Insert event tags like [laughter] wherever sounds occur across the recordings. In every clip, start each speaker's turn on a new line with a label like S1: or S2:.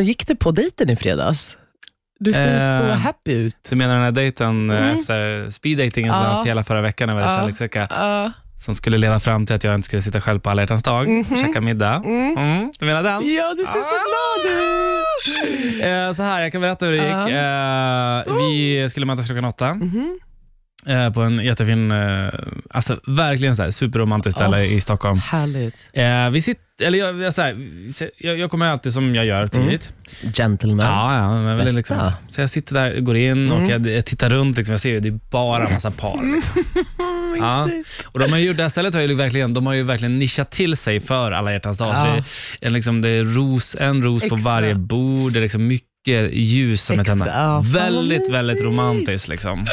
S1: Hur gick det på dejten i fredags? Du ser
S2: Eh,
S1: så happy ut.
S2: Så menar du den här dejten eh,
S1: Mm.
S2: efter speeddatingen som
S1: Ja.
S2: jag haft hela förra veckan över
S1: Ja.
S2: kärleksvecka,
S1: Ja.
S2: som skulle leda fram till att jag inte skulle sitta själv på alla hjärtans dag,
S1: Mhm.
S2: käka middag.
S1: Mm. Ah.
S2: Mm. Du menar den?
S1: Ja, du ser så glad ut.
S2: Eh, så här, jag kan berätta hur det gick. Eh,
S1: Oh.
S2: vi skulle mötas klockan åtta
S1: Mhm.
S2: eh, på en jättefin, eh, alltså verkligen så här,
S1: Oh.
S2: superromantiskt ställe i Stockholm.
S1: Härligt.
S2: Eh, vi sitter, eller jag, jag, så här, vi ser- jag, jag kommer alltid som jag gör tidigt.
S1: Gentleman.
S2: Ja, ja men väl
S1: Mm. Bästa.
S2: liksom, så jag sitter där, går in och jag, jag tittar runt. Liksom, jag ser ju det är bara
S1: [laughs]
S2: massa par. Liksom.
S1: Mm,
S2: Ja.
S1: mysigt.
S2: Och de har ju, det här stället har ju verkligen, de har ju verkligen nischat till sig för alla hjärtans dag. Så
S1: Ja.
S2: det, är liksom, det är ros, en ros på
S1: Extra.
S2: varje bord. Det är liksom mycket ljus som är
S1: Extra,
S2: tända.
S1: ja, fan vad
S2: väldigt,
S1: mysigt. Ah.
S2: väldigt romantiskt. Liksom.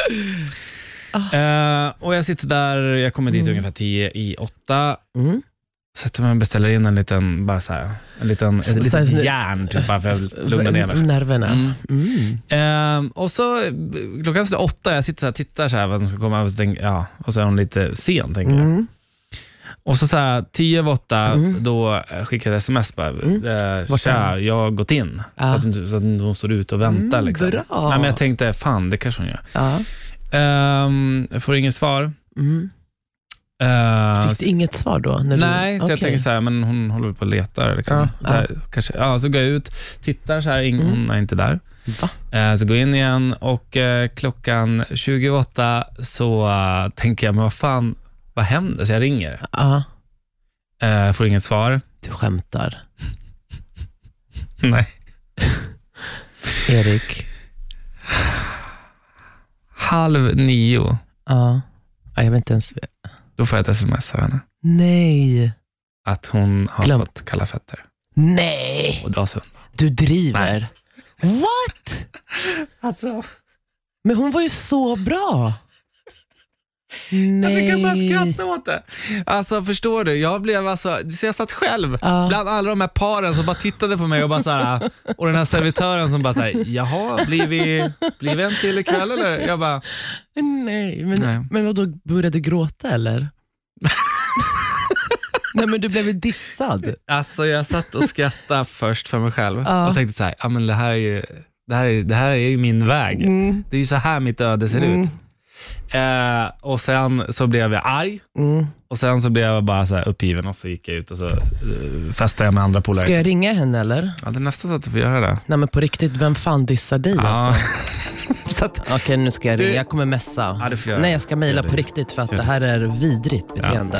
S2: Eh, och jag sitter där, jag kommer dit
S1: Mm.
S2: ungefär tio i åtta.
S1: Mm.
S2: Sätter mig och beställer in en liten, bara så här, en liten,
S1: Så-
S2: ett
S1: så här-
S2: litet järn typ, bara för
S1: [laughs]
S2: att lugna ner mig.
S1: Nerverna.
S2: Mm.
S1: Mm.
S2: Ehm, och så eh, klockan slår åtta, jag sitter så här, tittar så här vad som ska komma och så, tänker, ja, och så är hon lite sen tänker jag.
S1: Mm.
S2: Och så, så här, tio över åtta,
S1: Mm.
S2: då eh, skickar jag ett sms bara, eh,
S1: Vart är
S2: tja, jag har gått in.
S1: Ja.
S2: Så, att, hon- så att hon står ute och väntar.
S1: Mm,
S2: liksom.
S1: bra.
S2: Nej, men jag tänkte, fan det kanske hon gör.
S1: Ja.
S2: Ehm, jag får inget svar.
S1: Mm.
S2: Ehm,
S1: Fick du inget svar då? När
S2: Nej,
S1: du...
S2: så jag
S1: Okej.
S2: tänker så här, men hon håller väl på och letar. Liksom.
S1: Ja,
S2: så, här, Kanske, ja, så går jag ut, tittar så här, ing,
S1: Mm.
S2: hon är inte där.
S1: Va?
S2: Eh, Så går jag in igen och eh, klockan 28 så eh, tänker jag, men vad fan, vad händer? Så jag ringer.
S1: Ja,
S2: Eh, Får inget svar. [laughs]
S1: du skämtar.
S2: Nej.
S1: Erik.
S2: Halv nio,
S1: Ja. ja. Jag vet inte ens.
S2: då får jag ett sms av henne.
S1: Nej.
S2: Att hon har
S1: Glömt.
S2: fått kalla fötter
S1: Nej.
S2: och dras undan.
S1: Du driver. What?
S2: Alltså,
S1: Men hon var ju så bra. Nej.
S2: åt det. Alltså förstår du, jag blev alltså, så jag satt själv
S1: Ja.
S2: bland alla de här paren som bara tittade på mig och bara så här, [laughs] och den här servitören som bara såhär, jaha, blir vi, blir vi en till ikväll eller? Jag bara,
S1: Nej, men,
S2: Nej.
S1: men vadå, började du gråta
S2: [laughs]
S1: eller? Nej men du blev väl dissad?
S2: Alltså jag satt och skrattade först för mig själv
S1: Ja.
S2: och tänkte så här, ja men det här är ju, det här är, det här är ju min väg.
S1: Mm,
S2: Det är ju så här mitt öde ser ut.
S1: mm,
S2: Eh, och sen så blev jag arg
S1: mm.
S2: och sen så blev jag bara så här uppgiven och så gick jag ut och så eh, festade jag med andra polare.
S1: Ska jag ringa henne eller?
S2: Ja, det är nästan så att du får göra det.
S1: Nej men på riktigt, vem fan dissar dig
S2: Ja.
S1: alltså?
S2: så att,
S1: Okej nu ska jag
S2: Du-
S1: ringa, jag kommer messa.
S2: Ja, det får jag
S1: Nej
S2: göra.
S1: jag ska mejla
S2: Gör det.
S1: på riktigt för att
S2: Gör
S1: det
S2: det.
S1: här är vidrigt beteende.